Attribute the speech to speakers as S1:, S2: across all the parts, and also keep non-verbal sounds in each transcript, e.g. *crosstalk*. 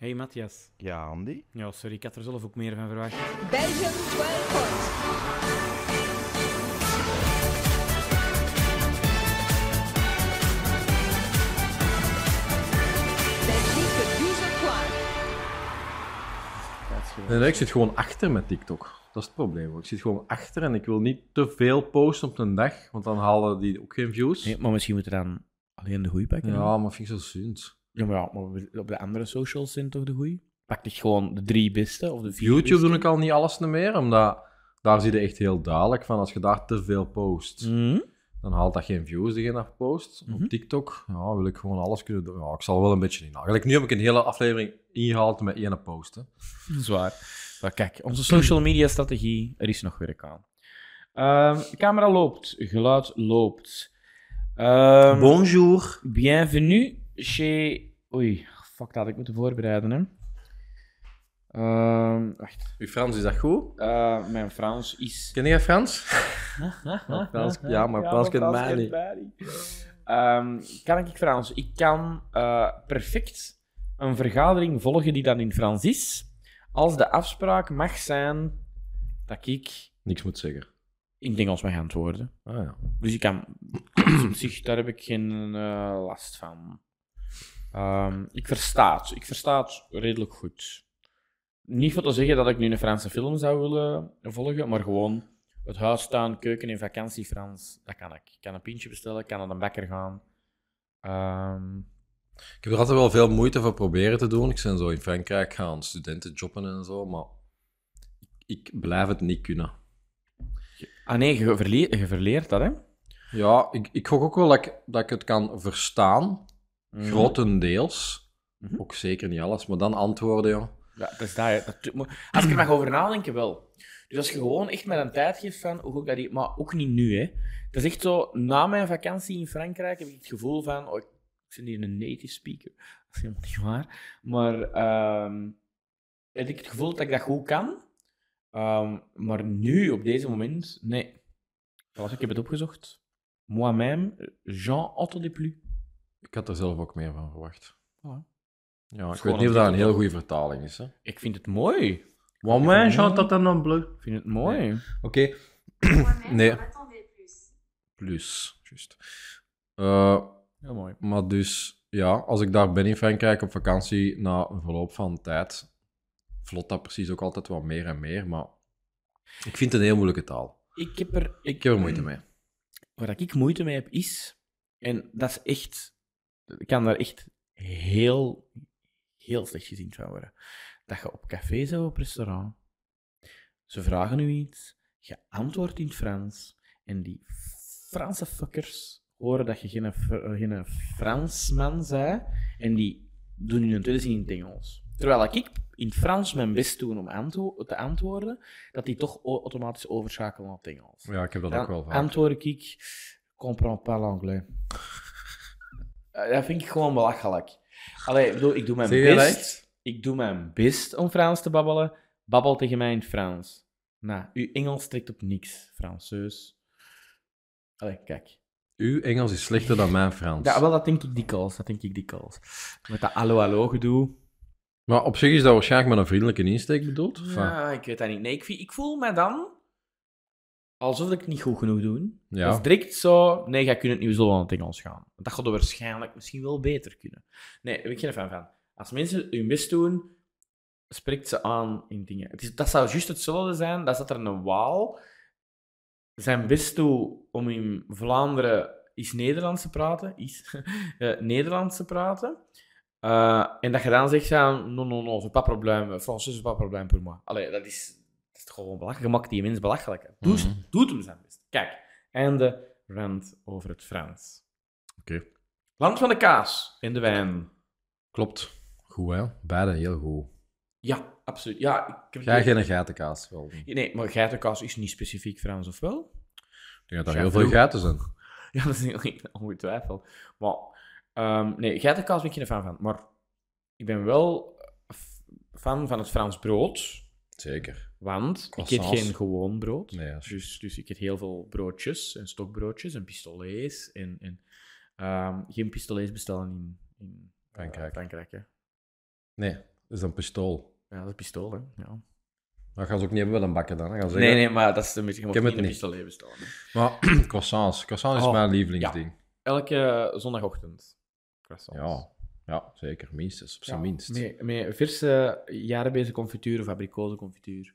S1: Hey Matthias.
S2: Ja, Andy?
S1: Ja, sorry, ik had er zelf ook meer van verwacht.
S3: Belgium 12 points. Belgique 12 points.
S4: Nee, nee, ik zit gewoon achter met TikTok. Dat is het probleem. hoor. Ik zit gewoon achter en ik wil niet te veel posten op een dag, want dan halen die ook geen views.
S5: Nee, maar misschien moeten we dan alleen de goeie pakken.
S4: Ja, maar vind ik zo zint.
S5: Ja, maar, ja, maar we- op de andere socials zijn toch de goeie? Pak ik gewoon de drie beste of de
S4: Op
S5: vier
S4: YouTube
S5: beste.
S4: doe ik al niet alles meer, omdat daar zie je echt heel duidelijk van. Als je daar te veel post,
S5: Mhm.
S4: dan haalt dat geen views die je daar post.
S5: Mhm.
S4: Op TikTok ja, wil ik gewoon alles kunnen doen. Ja, ik zal wel een beetje inhalen. Gelijk, nu heb ik een hele aflevering ingehaald met één post. Hè.
S5: Hmm? Zwaar. Maar kijk, onze
S4: Hmm.
S5: social media strategie, er is nog werk aan. Ehm, camera loopt, geluid loopt. Ehm,
S2: Bonjour.
S5: Bienvenue chez... Oei, fuck, dat had ik moeten voorbereiden, hè. Ehm, wacht.
S4: Uw Frans, is dat goed?
S5: Eh, mijn Frans is...
S4: Ken jij Frans? Ja, Frans- ja, maar Frans kent mij niet.
S5: Ehm, kan ik Frans? Ik kan eh, perfect een vergadering volgen die dan in Frans is, als de afspraak mag zijn dat ik
S4: Niks moet zeggen.
S5: in het Engels mag antwoorden.
S4: Ah ja.
S5: Dus ik *clears throat* kan... dus op zich, daar heb ik geen eh, last van. Ehm, ik versta het. Ik versta het redelijk goed. Niet voor te zeggen dat ik nu een Franse film zou willen volgen, maar gewoon het huis, staan, keuken in vakantie Frans, dat kan ik. Ik kan een pintje bestellen, ik kan naar de bakker gaan. Ehm,
S4: Ik heb er altijd wel veel moeite voor proberen te doen. Ik ben zo in Frankrijk gaan studenten jobben en zo, maar ik, ik blijf het niet kunnen.
S5: Ah nee, je, verle- je verleert dat, hè?
S4: Ja, ik, ik gok ook wel dat ik, dat ik het kan verstaan, grotendeels.
S5: Mhm.
S4: Ook zeker niet alles, maar dan antwoorden, joh.
S5: Ja, dat is dat, hè. Dat doet me- als ik er nog over nadenken, wel. Dus als je gewoon echt met een tijd geeft van, hoe ik dat hier- maar ook niet nu, hè. Dat is echt zo, na mijn vakantie in Frankrijk heb ik het gevoel van, oh, ik ik ben hier een native speaker. *laughs* Dat is helemaal niet waar. Maar ehm, heb ik het gevoel dat ik dat goed kan. Ehm, maar nu, op deze moment, nee. Pas, ik heb het opgezocht. Moi-même, Jean Otto de Plus.
S4: Ik had er zelf ook meer van verwacht.
S5: Oh.
S4: Ja,
S5: gewoon
S4: ik weet niet of dat een
S5: een
S4: heel goede vertaling is. Hè?
S5: Ik vind het mooi. Ik
S4: Woman,
S5: Jean
S4: Tatan en Bleu. Oké,
S5: vind het mooi.
S4: *coughs* Nee.
S6: Moi-même, j'en attendais plus.
S4: plus, juist. Eh,
S5: Heel mooi.
S4: Maar dus, ja, als ik daar ben in Frankrijk op vakantie, na een verloop van tijd, vlot dat precies ook altijd wat meer en meer. Maar ik vind het een heel moeilijke taal.
S5: Ik heb er...
S4: Ik heb er moeite mee.
S5: waar ik moeite mee heb, is... En dat is echt... Ik kan daar echt heel, heel slecht gezien van worden. Dat je op café zou op restaurant. Ze vragen u iets. Je antwoordt in het Frans. En die Franse fuckers horen dat je geen, Fr- geen Fransman bent. En die doen hun tweede zin in het Engels. Terwijl ik in het Frans mijn best doe om antwo- te antwoorden, dat die toch o- automatisch overschakelen op het Engels.
S4: Ja, ik heb dat
S5: Dan
S4: ook wel vaak.
S5: Antwoord ik, comprends pas l'anglais. Eh, dat vind ik gewoon belachelijk. Allee, ik bedoel, ik doe mijn
S4: Zeg je dat
S5: best.
S4: echt?
S5: Ik doe mijn best om Frans te babbelen. Babbel tegen mij in het Frans. Nou, uw Engels trekt op niks, Franseus. Allee, kijk.
S4: Uw Engels is slechter dan mijn Frans.
S5: Ja, wel, dat denk ik dikwijls. Dat denk ik dikwijls. Met dat allo-allo gedoe.
S4: Maar op zich is dat waarschijnlijk met een vriendelijke insteek bedoeld. Enfin, Ja,
S5: Ja, ik weet dat niet. Nee, ik, vi- ik voel me dan alsof ik het niet goed genoeg doe.
S4: Ja.
S5: Dat is direct zo, nee, jij kunt het niet zo aan het Engels gaan. Want Dat gaat er waarschijnlijk misschien wel beter kunnen. Nee, daar ben ik geen fan van. Als mensen hun best doen, spreekt ze aan in dingen. Het is, dat zou juist hetzelfde zijn, dat zat er een Waal zijn best toe om in Vlaanderen is Nederlands te praten, is *laughs* eh, Nederlands te praten. Eh, en dat je dan zegt, ja, non, non, non, c'est pas probleem, eh, Frans is pas probleem voor mij. Allee, dat is, dat is toch gewoon belachelijk. Je maakt die mens belachelijk. hè. Doe,
S4: Mhm.
S5: Doet hem zijn best. Kijk, einde rant over het Frans.
S4: Oké.
S5: Land van de kaas en de wijn.
S4: Klopt. Goed, hè? Beide heel goed.
S5: Ja, absoluut. Ja, ik heb
S4: Jij geen geitenkaas wel. Ik
S5: Nee, maar geitenkaas is niet specifiek Frans, of wel? *laughs*
S4: denk dat er
S5: Jij
S4: heel veel
S5: vroeg.
S4: geiten zijn.
S5: Ja, dat is niet ongetwijfeld. Maar ehm nee, geitenkaas ben ik geen fan van. Maar ik ben wel f- fan van het Frans brood.
S4: Zeker.
S5: Want ik eet
S4: Croissants.
S5: geen gewoon brood.
S4: Nee, dat is-
S5: dus, dus ik eet heel veel broodjes en stokbroodjes en pistolets. En, en, ehm, geen pistolets bestellen in, in eh,
S4: Frankrijk.
S5: Frankrijk hè.
S4: Nee, Dat is een pistool.
S5: Ja, dat is een pistool, hè. Ja.
S4: Dat gaan ze ook niet hebben met een bakken dan. Hè. Gaan ze
S5: Nee,
S4: zeggen,
S5: nee, maar dat is een beetje... Je
S4: Ik heb
S5: mag
S4: het
S5: niet
S4: niet.
S5: een pistool hebben staan.
S4: Maar *clears throat* croissants. Croissant is
S5: Oh,
S4: mijn lievelingsding.
S5: Elke eh, zondagochtend.
S4: Ja. Ja. zeker. Minstens. Op zijn minst.
S5: Met, met verse jarenbeze confituur of abrikozenconfituur.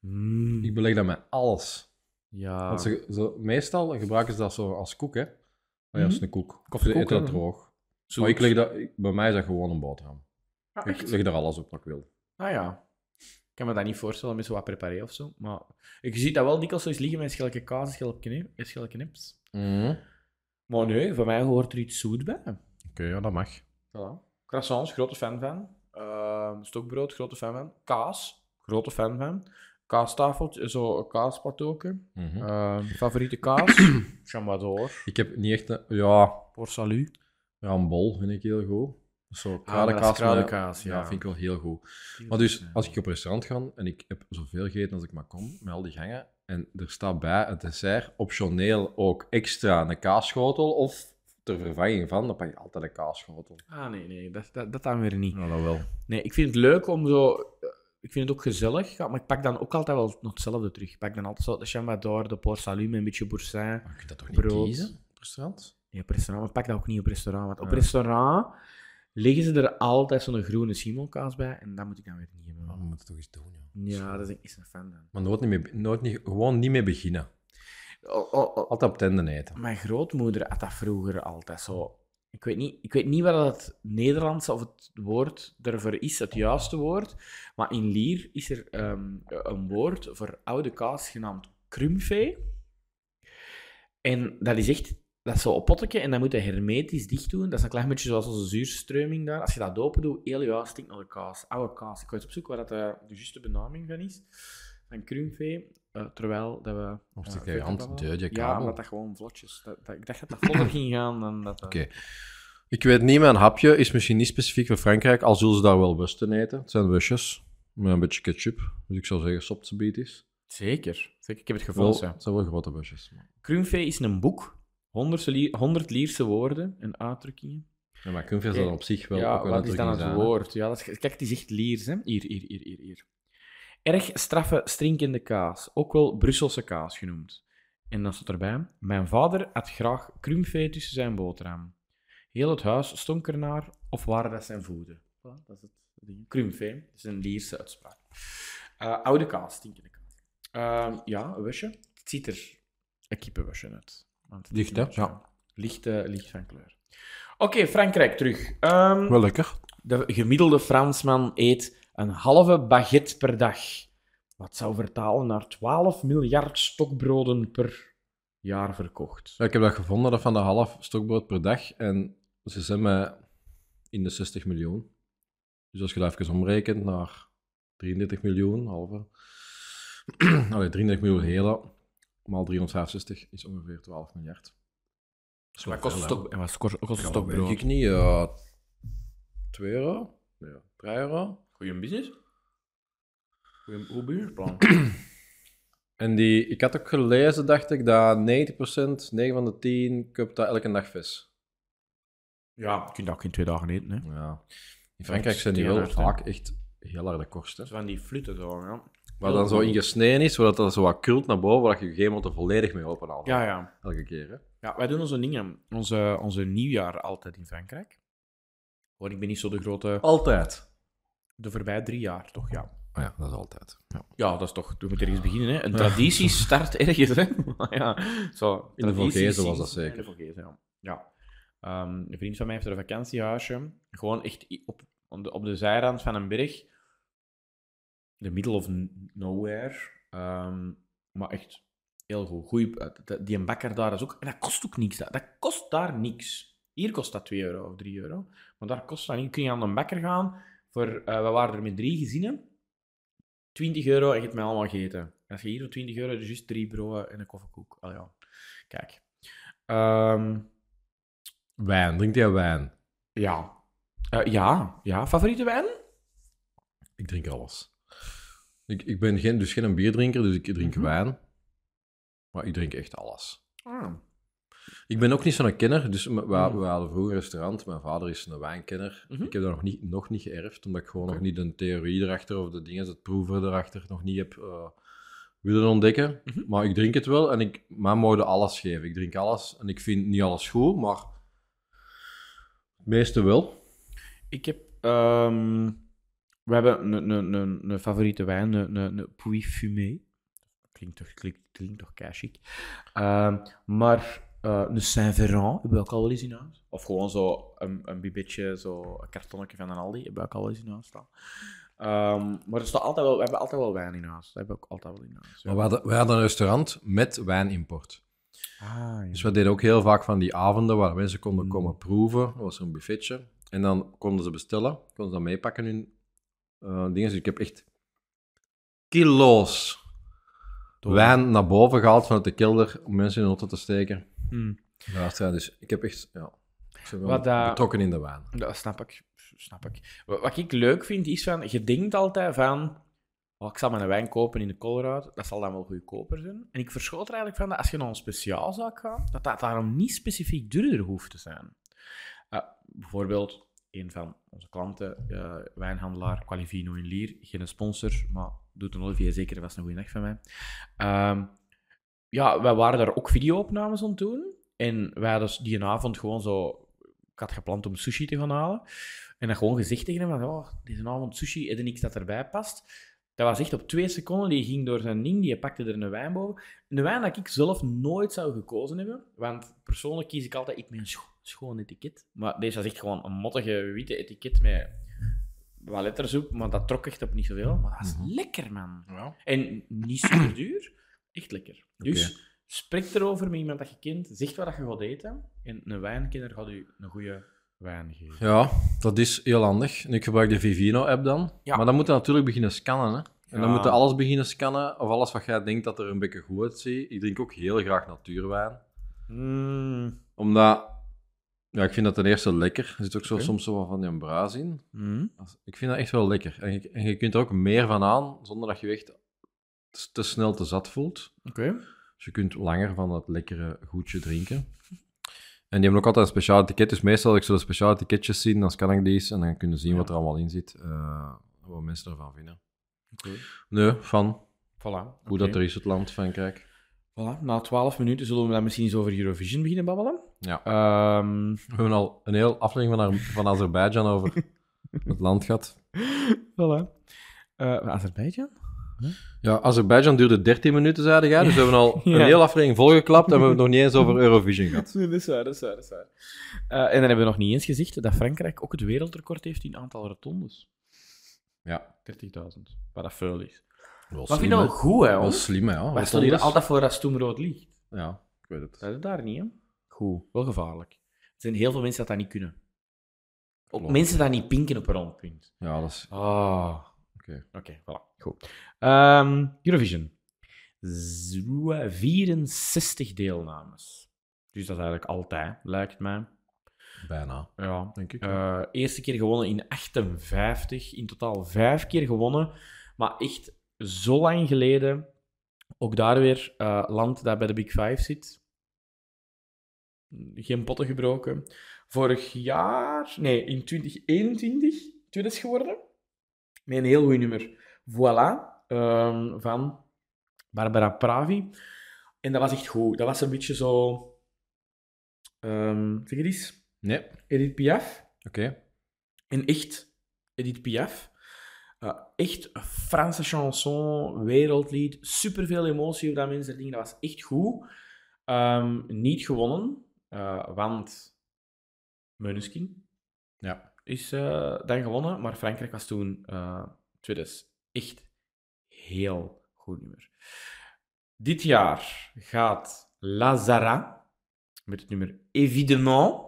S5: Mm.
S4: Ik beleg dat met alles.
S5: Ja.
S4: Want ze, ze- meestal gebruiken ze dat zo als koek, hè? Maar ja,
S5: Mhm.
S4: als een koek. Of
S5: Koffiekoek,
S4: ze eten dat
S5: hè?
S4: droog.
S5: Zoet.
S4: Maar ik leg dat, ik- bij mij is dat gewoon een boterham.
S5: Ah,
S4: Ik
S5: echt?
S4: leg er alles op wat ik wil.
S5: Ah ja. Ik kan me dat niet voorstellen met zo wat preparé of zo. Maar je ziet dat wel dikwijls zo eens liggen met schelke kaas en schelke knip- en schelke knips. Maar nee, voor mij hoort er iets zoet bij.
S4: Oké, ja, dat mag.
S5: Voilà. Croissants, grote fan van. Ehm, stokbrood, grote fan van. Kaas, grote fan van. Kaastafeltje, zo een kaaspatoken.
S4: Mhm.
S5: Ehm, favoriete *coughs* kaas? Chambador.
S4: Ik heb niet echt een... Ja,
S5: Port Salut.
S4: ja, een bol vind ik heel goed. Zo
S5: Ah, maar dat is
S4: kruidenkaas. met-
S5: kruidenkaas, ja.
S4: Ja, vind ik wel heel goed. Maar dus, als ik op restaurant ga en ik heb zoveel gegeten als ik maar kon, met al die gangen, en er staat bij het dessert optioneel ook extra een kaasschotel of ter vervanging van, dan pak je altijd een kaasschotel.
S5: Ah, nee, nee, dat, dat, dat dan weer niet.
S4: Nou, dat wel.
S5: Nee, ik vind het leuk om zo... eh, Ik vind het ook gezellig, ja, maar ik pak dan ook altijd wel nog hetzelfde terug. Ik pak dan altijd zo de Chambador, de Port Salut met een beetje boursin.
S4: Maar kun je dat toch
S5: niet Brood. kiezen
S4: op restaurant?
S5: Nee, op restaurant, maar ik pak dat ook niet op restaurant. Want op
S4: Ja.
S5: restaurant liggen ze er altijd zo'n groene schimmelkaas bij en dat moet ik dan weer niet hebben.
S4: we moeten toch eens doen,
S5: Ja, dat is ik is een fan dan.
S4: Maar nooit niet meer, nooit niet, gewoon niet mee beginnen.
S5: Oh, oh, oh,
S4: Altijd op tenden eten.
S5: Mijn grootmoeder had dat vroeger altijd zo. Ik weet niet, ik weet niet wat het Nederlandse of het woord ervoor is, het juiste woord. Maar in Lier is er ehm, een woord voor oude kaas genaamd krumvee. En dat is echt, dat is zo'n pottetje en dat moet je hermetisch dicht doen. Dat is een klein beetje zoals onze zuurstreuming daar. Als je dat open doet, heel je huis stinkt naar de kaas. Oude kaas. Ik ga eens op zoek waar dat eh, de, de juiste benaming van is. Van krumvee. eh, terwijl dat we...
S4: Of
S5: eh,
S4: stik je
S5: verder
S4: hand
S5: babbelen.
S4: dood je
S5: Ja,
S4: kabel.
S5: omdat dat gewoon vlotjes... Dat, dat, ik dacht
S4: *clears throat*
S5: dat dat vlotter ging gaan dan dat... dat-
S4: Oké. Ik weet niet, mijn hapje is misschien niet specifiek voor Frankrijk, al zullen ze daar wel wusten eten. Het zijn wusjes met een beetje ketchup. Dus ik zou zeggen, sopt ze beet is.
S5: Zeker. Zeker. Ik heb het gevoel.
S4: Wel,
S5: zo.
S4: het zijn wel grote busjes.
S5: Krumvee is een boek. 100 li- 100 Lierse woorden en uitdrukkingen.
S4: Ja, maar kunfje is dan op zich wel
S5: ja,
S4: ook wel
S5: wat is dan het
S4: uitdrukking zijn, hè.
S5: woord? Ja, dat is, kijk, die zegt Liers. Hè? Hier, hier, hier, hier, hier. Erg straffe, stinkende kaas. Ook wel Brusselse kaas genoemd. En dan staat erbij... Mijn vader had graag krumvee tussen zijn boterham. Heel het huis stonk ernaar, of waren dat zijn voeten? Voilà, dat is het ding. Krumvee. Dat is een Lierse uitspraak. Eh, oude kaas, stinkende kaas. Ehm, ja, een wusje. Het ziet er een kippenwusje uit. Want het is
S4: Licht,
S5: een
S4: hè?
S5: wusje.
S4: Ja.
S5: Licht, eh, licht van kleur. Oké, Frankrijk terug. Ehm,
S4: Wel lekker.
S5: de gemiddelde Fransman eet een halve baguette per dag. Wat zou vertalen naar 12 miljard stokbroden per jaar verkocht.
S4: Ja, ik heb dat gevonden, dat van de half stokbrood per dag. En ze zijn met in de 60 miljoen. Dus als je dat even omrekent naar 33 miljoen, halve. *clears throat* Allee, 33 miljoen hele, maal 365 is ongeveer 12 miljard. Dat is wel veel, hè.
S5: en wat kost, kost
S4: Ja, weet ik niet. ja 2 euro? Ja. 3 euro?
S5: Goeie business. Goeie, goed buurplan.
S4: En die, ik had ook gelezen, dacht ik, dat 90%, 9 van de 10, koopt dat elke dag vis.
S5: *coughs* ja, je kunt dat ook in twee dagen eten. Hè.
S4: Ja. In
S5: Dat
S4: Frankrijk
S5: is
S4: zijn die wel
S5: steenhard, hè?
S4: vaak echt heel harde korsten.
S5: Van die flutten zo, ja.
S4: Waar dan zo in gesneden is, zodat dat zo wat krult naar boven, waar je je gegeven moment er volledig mee open haalt.
S5: Ja, ja.
S4: Elke keer, hè.
S5: Ja, wij doen onze dingen, onze, onze nieuwjaar altijd in Frankrijk. Hoor, ik ben niet zo de grote...
S4: Altijd.
S5: De voorbij drie jaar, toch? Ja.
S4: Oh ja, dat is altijd. Ja.
S5: Ja, dat is toch... Je moet ergens beginnen, hè. Een traditie start ergens, hè. Maar ja, zo...
S4: In de
S5: tradities
S4: Vogezen was
S5: zien-
S4: dat zeker.
S5: In de Vogezen, ja. ja. Ehm, een vriend van mij heeft er een vakantiehuisje. Gewoon echt i- op, op, de, op de zijrand van een berg. The middle of n- nowhere. Ehm, maar echt heel goed. Goeie, eh, d- die een bakker daar is ook... En dat kost ook niks. Dat, dat kost daar niks. Hier kost dat 2 euro of 3 euro. Maar daar kost dat niet. Kun je aan de bakker gaan voor... eh, we waren er met drie gezinnen. 20 euro en je hebt mij allemaal gegeten. Als je hier voor 20 euro, dus juist drie broden en een koffiekoek. Al ja, kijk. Ehm,
S4: Wijn, drink jij wijn?
S5: ja. Eh, ja, ja. Favoriete wijn?
S4: Ik drink alles. Ik, ik ben geen, dus geen bierdrinker, dus ik drink
S5: Mhm.
S4: wijn. Maar ik drink echt alles.
S5: Ah.
S4: Ik ben ook niet zo'n kenner, dus we, we
S5: Mhm.
S4: hadden vroeger een restaurant. Mijn vader is een wijnkenner.
S5: Mhm.
S4: Ik heb dat nog niet, nog niet geërfd, omdat ik gewoon
S5: Oké.
S4: nog niet de theorie erachter of de dingen, het proeven erachter, nog niet heb eh, willen ontdekken.
S5: Mhm.
S4: Maar ik drink het wel en ik, mij mogen alles geven. Ik drink alles en ik vind niet alles goed, maar het meeste wel.
S5: Ik heb... ehm, we hebben een, een, een, een favoriete wijn, een, een, een Puy Fumé. Klinkt toch, klinkt, klinkt toch kei-chic. Ehm, maar eh, een Saint-Véran hebben we ook al wel eens in huis. Of gewoon zo een, een bibetje, zo een kartonnetje van een Aldi, hebben we ook al wel eens in huis staan. Ehm, maar er staat altijd wel, we hebben altijd wel wijn in huis. Dat hebben we ook altijd wel in huis. ja.
S4: Maar we hadden, we hadden een restaurant met wijnimport.
S5: Ah, ja.
S4: Dus we deden ook heel vaak van die avonden waar mensen konden
S5: Mm.
S4: komen proeven. Er was een buffetje. En dan konden ze bestellen, konden ze dat meepakken hun eh, dingen. Dus ik heb echt kilo's
S5: Door.
S4: wijn naar boven gehaald vanuit de kelder om mensen in de auto te steken.
S5: Hmm.
S4: Ja, dus ik heb echt, ja, ik ben wel
S5: Wat, eh,
S4: betrokken in de wijn.
S5: Dat snap ik. Snap ik. Wa- Wat ik leuk vind, is van... Je denkt altijd van... Oh, ik zal mijn wijn kopen in de Colorado. Dat zal dan wel goedkoper zijn. En ik verschoot er eigenlijk van dat als je naar een speciaalzaak gaat, dat dat daarom niet specifiek duurder hoeft te zijn. Eh, bijvoorbeeld, een van onze klanten, eh, wijnhandelaar Qualivino in Lier. Geen sponsor, maar doet een Olivier zeker was een goede dag van mij. Ehm, ja, wij waren daar ook videoopnames aan het doen. En wij hadden s- die avond gewoon zo... Ik had gepland om sushi te gaan halen. En dan gewoon gezegd tegen hem van, oh, deze avond sushi, heb je niks dat erbij past? Dat was echt op twee seconden. Die ging door zijn ding, die pakte er een wijn boven. Een wijn dat ik zelf nooit zou gekozen hebben. Want persoonlijk kies ik altijd iets met een scho- schoon etiket. Maar deze was echt gewoon een mottige witte etiket met wat letters op. Maar dat trok echt op niet zoveel. Maar dat was
S4: Mhm.
S5: lekker, man.
S4: Ja.
S5: En niet super duur, echt lekker. Dus spreek erover met iemand dat je kent, zeg wat je gaat eten. En een wijnkenner gaat u een goede wijn geven.
S4: ja, dat is heel handig. En ik gebruik de Vivino-app dan.
S5: Ja.
S4: Maar dan moet je natuurlijk beginnen scannen, hè. En dan
S5: Ja.
S4: moet je alles beginnen scannen, of alles wat jij denkt dat er een beetje goed uitziet. Ik drink ook heel graag natuurwijn.
S5: Mm.
S4: Omdat, ja, ik vind dat ten eerste lekker. Er zit ook zo,
S5: Oké.
S4: soms zo wat van die braas in.
S5: Hmm.
S4: Als- Ik vind dat echt wel lekker. En je, en je kunt er ook meer van aan, zonder dat je je echt s- te snel te zat voelt.
S5: Oké.
S4: Dus je kunt langer van dat lekkere goedje drinken. En die hebben ook altijd een speciaal etiket. Dus meestal als ik zo de speciale etiketjes zien, dan scan ik die eens en dan kunnen we zien
S5: Ja.
S4: wat er allemaal in zit. eh, wat mensen ervan vinden. Nee, van
S5: Voilà.
S4: hoe dat er is, het land, Frankrijk.
S5: Voilà. Na 12 minuten zullen we dan misschien eens over Eurovision beginnen babbelen.
S4: Ja.
S5: Ehm,
S4: We hebben al een heel aflevering van, Ar- van Azerbeidzjan over *laughs* het land gehad.
S5: voilà. Eh, Azerbeidzjan?
S4: Ja, Azerbeidzjan duurde 13 minuten, zeiden jij. Dus we hebben *laughs* al
S5: Ja.
S4: een hele aflevering volgeklapt en we hebben het nog niet eens over Eurovision gehad.
S5: Nee, *laughs* dat is waar, dat is waar, dat is waar. Eh, en dan hebben we nog niet eens gezegd dat Frankrijk ook het wereldrecord heeft in aantal rotondes.
S4: Ja,
S5: 30.000. Wat dat veel is.
S4: wel
S5: Maar
S4: slim,
S5: vind je
S4: hè.
S5: dat goed, hè?
S4: Wel
S5: hoor?
S4: slim, hè. ja.
S5: Wij
S4: Wat
S5: stonden hier
S4: anders?
S5: altijd voor als toen rood licht.
S4: Ja, ik weet het.
S5: Dat is daar niet, hè? Goed. Wel gevaarlijk. Er zijn heel veel mensen dat dat niet kunnen. Ook
S4: Klopt.
S5: mensen dat niet pinken op een rondpunt.
S4: Ja, dat is...
S5: Ah.
S4: Oké.
S5: Oké, voilà. Goed. Ehm, Eurovision. Z- 64 deelnames. Dus dat is eigenlijk altijd, lijkt mij.
S4: Bijna,
S5: Ja.
S4: denk ik.
S5: Eh, eerste keer gewonnen in 58. In totaal vijf keer gewonnen. Maar echt zo lang geleden. Ook daar weer eh, land dat bij de Big Five zit. Geen potten gebroken. Vorig jaar, nee, in 2021 tweede is geworden. Met een heel goed nummer. Voilà. ehm, van Barbara Pravi. En dat was echt goed. Dat was een beetje zo. ehm, zeg het eens.
S4: Nee, oké.
S5: Edith Piaf. En echt, Edith Piaf. eh, echt een Franse chanson, wereldlied. Superveel emotie op dat mensen dingen. Dat was echt goed. Ehm, niet gewonnen, eh, want Meunenskin
S4: Ja.
S5: is eh, dan gewonnen. Maar Frankrijk was toen eh tweede. Dus Echt heel goed nummer. Dit jaar gaat Lazara met het nummer Évidemment.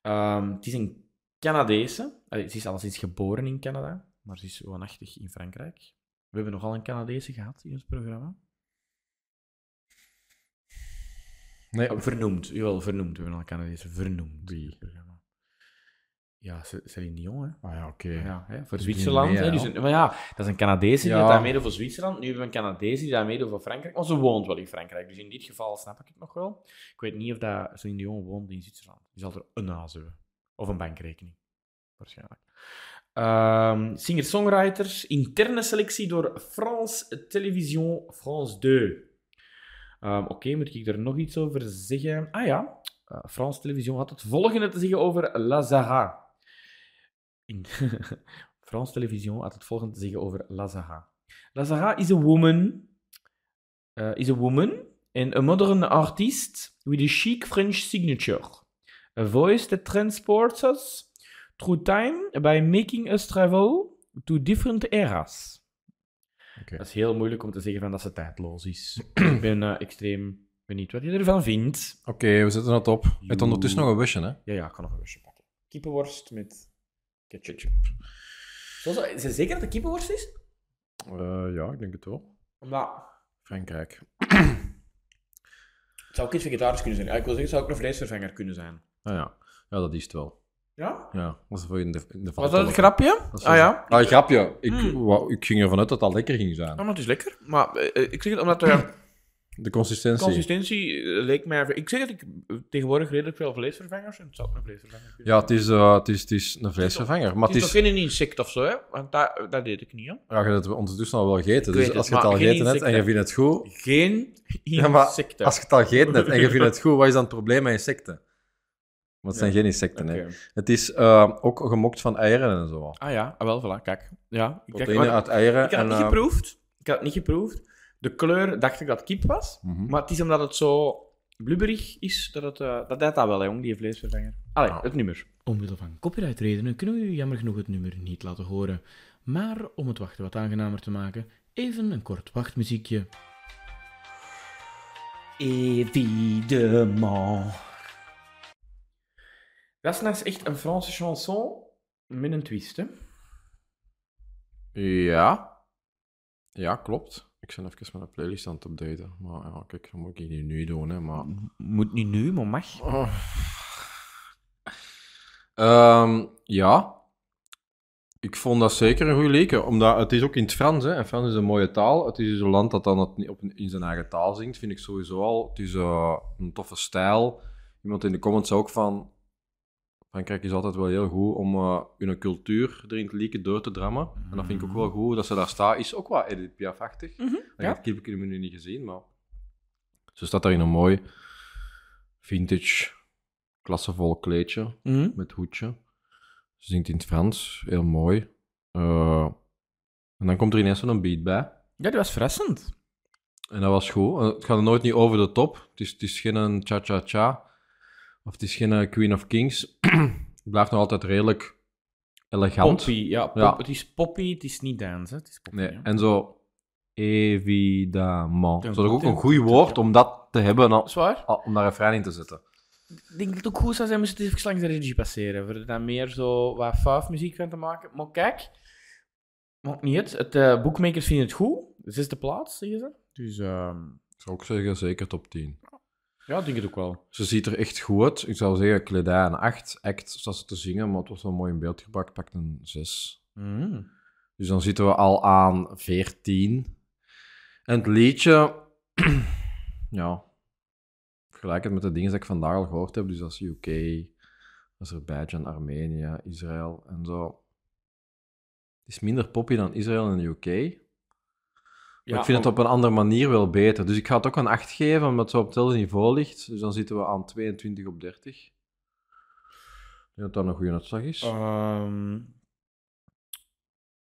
S5: Ehm, het is een Canadese. Allee, ze is alleszins geboren in Canada, maar ze is woonachtig in Frankrijk. We hebben nogal een Canadese gehad in ons programma.
S4: Nee,
S5: Oh, Eh, vernoemd, jawel, vernoemd. We hebben al een Canadese vernoemd. in het programma. Ja, Ce- Celine Dion, hè.
S4: Ah ja, oké.
S5: Ja, hè, voor
S4: is
S5: Zwitserland.
S4: Guinea,
S5: Hè, dus
S4: ja.
S5: een- maar ja, dat is een Canadese die
S4: Ja.
S5: dat meedoet voor Zwitserland. Nu hebben we een Canadese die dat meedoet voor Frankrijk. Maar ze woont wel in Frankrijk. Dus in dit geval snap ik het nog wel. Ik weet niet of dat Celine Dion woont in Zwitserland. Die zal er een huis hebben. Of een bankrekening. Waarschijnlijk. Ehm, Singer-songwriters. Interne selectie door France Television France 2. Ehm, Oké, moet ik er nog iets over zeggen? Ah ja, eh, France Television had het volgende te zeggen over La Zara. In *laughs* France Television had het volgende te zeggen over La Zara. La Zara is a woman, eh, is a woman and a modern artist with a chic French signature. A voice that transports us through time by making us travel to different eras.
S4: Oké.
S5: Dat is heel moeilijk om te zeggen van dat ze tijdloos is. *clears throat* ik ben eh, extreem benieuwd wat je ervan vindt.
S4: Oké, we zetten het op. Het ondertussen nog een wisje, hè?
S5: Ja, ja, ik kan nog een worstje pakken. Kippenworst met ketchup. Zo, zo- is het zeker dat het kippenworst is?
S4: Eh, ja, ik denk het wel.
S5: Omdat...
S4: Frankrijk.
S5: Het zou ook iets vegetarisch kunnen zijn. Ja, ik wil zeggen, het zou ook een vleesvervanger kunnen zijn.
S4: Ah ja. Ja, dat is het wel.
S5: Ja?
S4: Ja, dat is voor in de, in de
S5: Was dat het grapje?
S4: Dat is
S5: ah
S4: wel-
S5: ja.
S4: Ah, grapje. Ik,
S5: Mm.
S4: wou- ik ging ervan uit dat dat lekker ging
S5: Ah,
S4: zijn.
S5: maar het is lekker. Maar eh, eh, ik zeg het omdat de
S4: De consistentie.
S5: consistentie eh, leek mij... Ik zeg dat ik eh, tegenwoordig redelijk veel vleesvervangers en het zou ook een vleesvervanger kunnen
S4: Ja, het is, eh, het, is, het is een vleesvervanger.
S5: Het
S4: Maar het
S5: is
S4: is,
S5: toch geen insect of zo, hè? Want dat, dat deed ik niet, hè?
S4: ja, je hebt het ondertussen al wel
S5: Ik
S4: gegeten. Dus
S5: weet het,
S4: als je het al
S5: maar geen
S4: gegeten hebt en je
S5: insecten.
S4: vindt het goed...
S5: Geen
S4: Ja, maar
S5: insecten.
S4: Als je het al gegeten hebt en je vindt het goed, wat is dan het probleem met insecten? Want het zijn
S5: Ja.
S4: geen insecten, hè.
S5: Oké.
S4: Het is eh, ook gemokt van eieren en zo.
S5: Ah ja, ah, wel, voilà, kijk. Ja, ik,
S4: Proteïne
S5: maar-
S4: uit eieren.
S5: ik had het
S4: en,
S5: niet
S4: eh,
S5: geproefd. Ik had het niet geproefd. De kleur dacht ik dat het kip was.
S4: mhm.
S5: Maar het is omdat het zo blubberig is, dat het, eh, dat deed dat wel, hè, jong, die vleesvervanger. Allee,
S4: Ah.
S5: het nummer.
S1: Nou, Omwille van copyrightredenen kunnen we u jammer genoeg het nummer niet laten horen. Maar om het wachten wat aangenamer te maken, even een kort wachtmuziekje.
S5: Évidemment. Dat is nou eens echt een Franse chanson met een twist, hè?
S4: Ja. Ja, klopt. Ik ben even mijn playlist aan het updaten. Maar ja, kijk, dat moet ik hier nu doen, hè. Maar...
S1: Ah,
S5: Moet niet nu, maar mag.
S4: Oh. Ehm, ja. Ik vond dat zeker een goede leken, omdat het is ook in het Frans, hè. En Frans is een mooie taal. Het is dus een land dat dan het niet op een- in zijn eigen taal zingt, vind ik sowieso al. Het is eh, een toffe stijl. Iemand in de comments zei ook van... Frankrijk is altijd wel heel goed om eh, hun cultuur erin te lieken, door te drammen. En dat vind ik ook wel goed. Dat ze daar staat, is ook wat Edith Piaf-achtig.
S5: ja.
S4: Dat heb ik hem nu niet gezien, maar... Ze staat daar in een mooi vintage, klassevol kleedje
S5: Hm?
S4: met hoedje. Ze zingt in het Frans, heel mooi. Eh, en dan komt er ineens zo'n beat bij.
S5: Ja, die was verrassend.
S4: En dat was goed. Eh, Het gaat nooit niet over de top. Het is, het is geen een cha-cha-cha. Of het is geen eh, Queen of Kings. *clears throat* het blijft nog altijd redelijk elegant.
S5: Poppy, ja, pop-
S4: Ja.
S5: Het is poppy, het is niet dance, hè. Het is poppy,
S4: Nee,
S5: hè.
S4: en zo... Evidemment.
S5: Ten-
S4: Dat is ook
S5: ten-
S4: een goed woord om dat te hebben,
S5: Dat
S4: al-
S5: is waar.
S4: al- om daar een refrein in te zetten.
S5: Ik denk dat het ook goed zou zijn moest het even langs de regie passeren. Voor er dan meer zo wat faaf muziek van te maken. Maar kijk, maakt niet uit. Het, eh, bookmakers vinden het goed. Zesde plaats, zeggen ze. Dus ehm,
S4: Ik zou ook zeggen, zeker top 10.
S5: ja, ik denk het ook wel.
S4: Ze ziet er echt goed uit. Ik zou zeggen, kledij een 8. Act zat ze te zingen, maar het was wel mooi in beeld gepakt. Pakt een 6.
S5: Mm.
S4: Dus dan zitten we al aan 14. En het liedje... *clears throat* ja. Vergelijk het met de dingen die ik vandaag al gehoord heb. Dus dat is UK, Azerbeidzjan, Armenië, Israël en zo. Het is minder poppy dan Israël en UK. Maar ik vind het op een andere manier wel beter. Dus ik ga het ook een 8 geven, omdat het zo op hetzelfde niveau ligt. Dus dan zitten we aan 22 op 30. Ik denk dat dat een goede uitslag is.
S5: Ehm,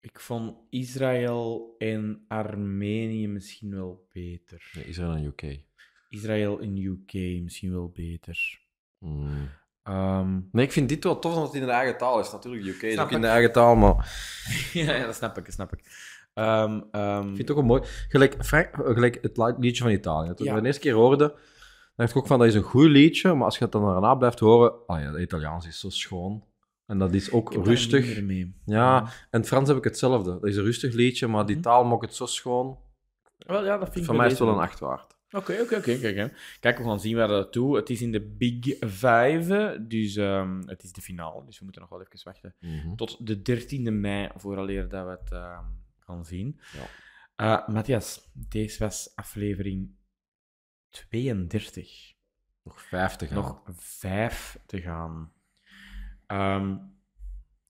S5: ik vond Israël en Armenië misschien wel beter.
S4: Nee, Israël en UK.
S5: Israël en UK misschien wel beter.
S4: Mm.
S5: Ehm,
S4: Nee, ik vind dit wel tof, omdat het in de eigen taal is. Natuurlijk, UK is
S5: Snap
S4: ook in
S5: ik.
S4: de eigen taal, maar...
S5: *laughs* ja, ja, dat snap ik, dat snap ik. Ehm, ehm,
S4: Ik vind het ook een mooi... Gelijk, Frank- eh, gelijk het li- liedje van Italië.
S5: Ja.
S4: Toen ik het de eerste keer hoorde, dacht ik ook van, dat is een goed liedje. Maar als je het dan daarna blijft horen... Ah ja, het Italiaans is zo schoon. En dat is ook
S5: ik heb daar
S4: rustig.
S5: minder mee.
S4: Ja,
S5: Ah,
S4: en het Frans heb ik hetzelfde. Dat is een rustig liedje, maar die
S5: Mhm.
S4: taal maakt het zo schoon.
S5: Wel, ja, dat vind ik
S4: Voor
S5: bij
S4: mij is het
S5: deze
S4: wel een 8 waard.
S5: Oké, oké, oké. Kijk, hè. Kijk, we gaan zien waar dat toe. Het is in de Big Five, dus ehm, het is de finale. Dus we moeten nog wel even wachten tot de 13e mei, vooraleer dat we het ehm, gaan zien.
S4: Ja.
S5: Eh, Matthias, deze was aflevering 32.
S4: Nog 50 gaan.
S5: Nog vijf te gaan. Ehm,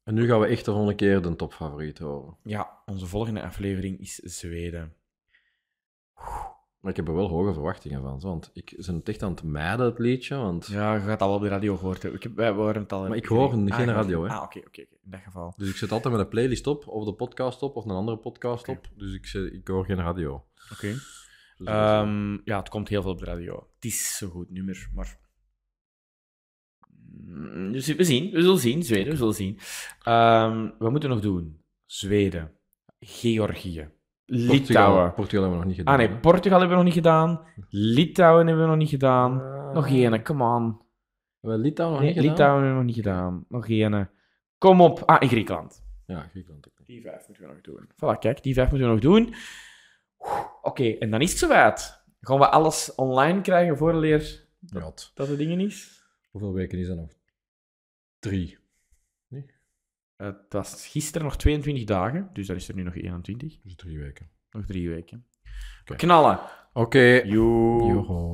S4: En nu gaan we echt de volgende keer de topfavoriet horen.
S5: ja, onze volgende aflevering is Zweden.
S4: Maar ik heb er wel hoge verwachtingen van, zo, want ik ben het echt aan het mijden, het liedje, want...
S5: Ja, je gaat al op de radio gehoord hebben. Ik heb, wij horen het al.
S4: Maar ik hoor geen
S5: Ah, je hoort-
S4: radio, hè.
S5: Ah, oké, oké. oké. In dat geval.
S4: Dus ik zet altijd met een playlist op, of de podcast op, of een andere podcast
S5: Oké.
S4: op. Dus ik, zet- ik hoor geen radio.
S5: Oké.
S4: Dus dat is-
S5: Ehm, ja, het komt heel veel op de radio. Het is zo'n goed nummer, maar... Mm, Dus we zien, we zullen zien, Zweden, we zullen zien. Ehm, wat moeten we nog doen? Zweden, Georgië, Litouwen.
S4: Portugal, Portugal hebben we nog niet gedaan.
S5: Ah nee,
S4: hè?
S5: Portugal hebben we nog niet gedaan. Litouwen hebben we nog niet gedaan.
S4: Ah.
S5: Nog ene, come on.
S4: Hebben we Litouwen nog
S5: Nee,
S4: niet gedaan?
S5: Litouwen hebben we nog niet gedaan. Nog ene. Kom op. Ah, in Griekenland.
S4: Ja, Griekenland ook niet.
S5: Die vijf moeten we nog doen. Voilà, kijk, die vijf moeten we nog doen. Oeh, Oké, en dan is het zoweit. Gaan we alles online krijgen voor leer
S4: Jot.
S5: dat de dingen is?
S4: Hoeveel weken is dat nog? Drie.
S5: Het was gisteren nog 22 dagen, dus dan is er nu nog 21.
S4: Dus drie weken.
S5: Nog drie weken.
S4: Oké.
S5: Knallen!
S4: Oké.
S5: Joe.
S4: Joho.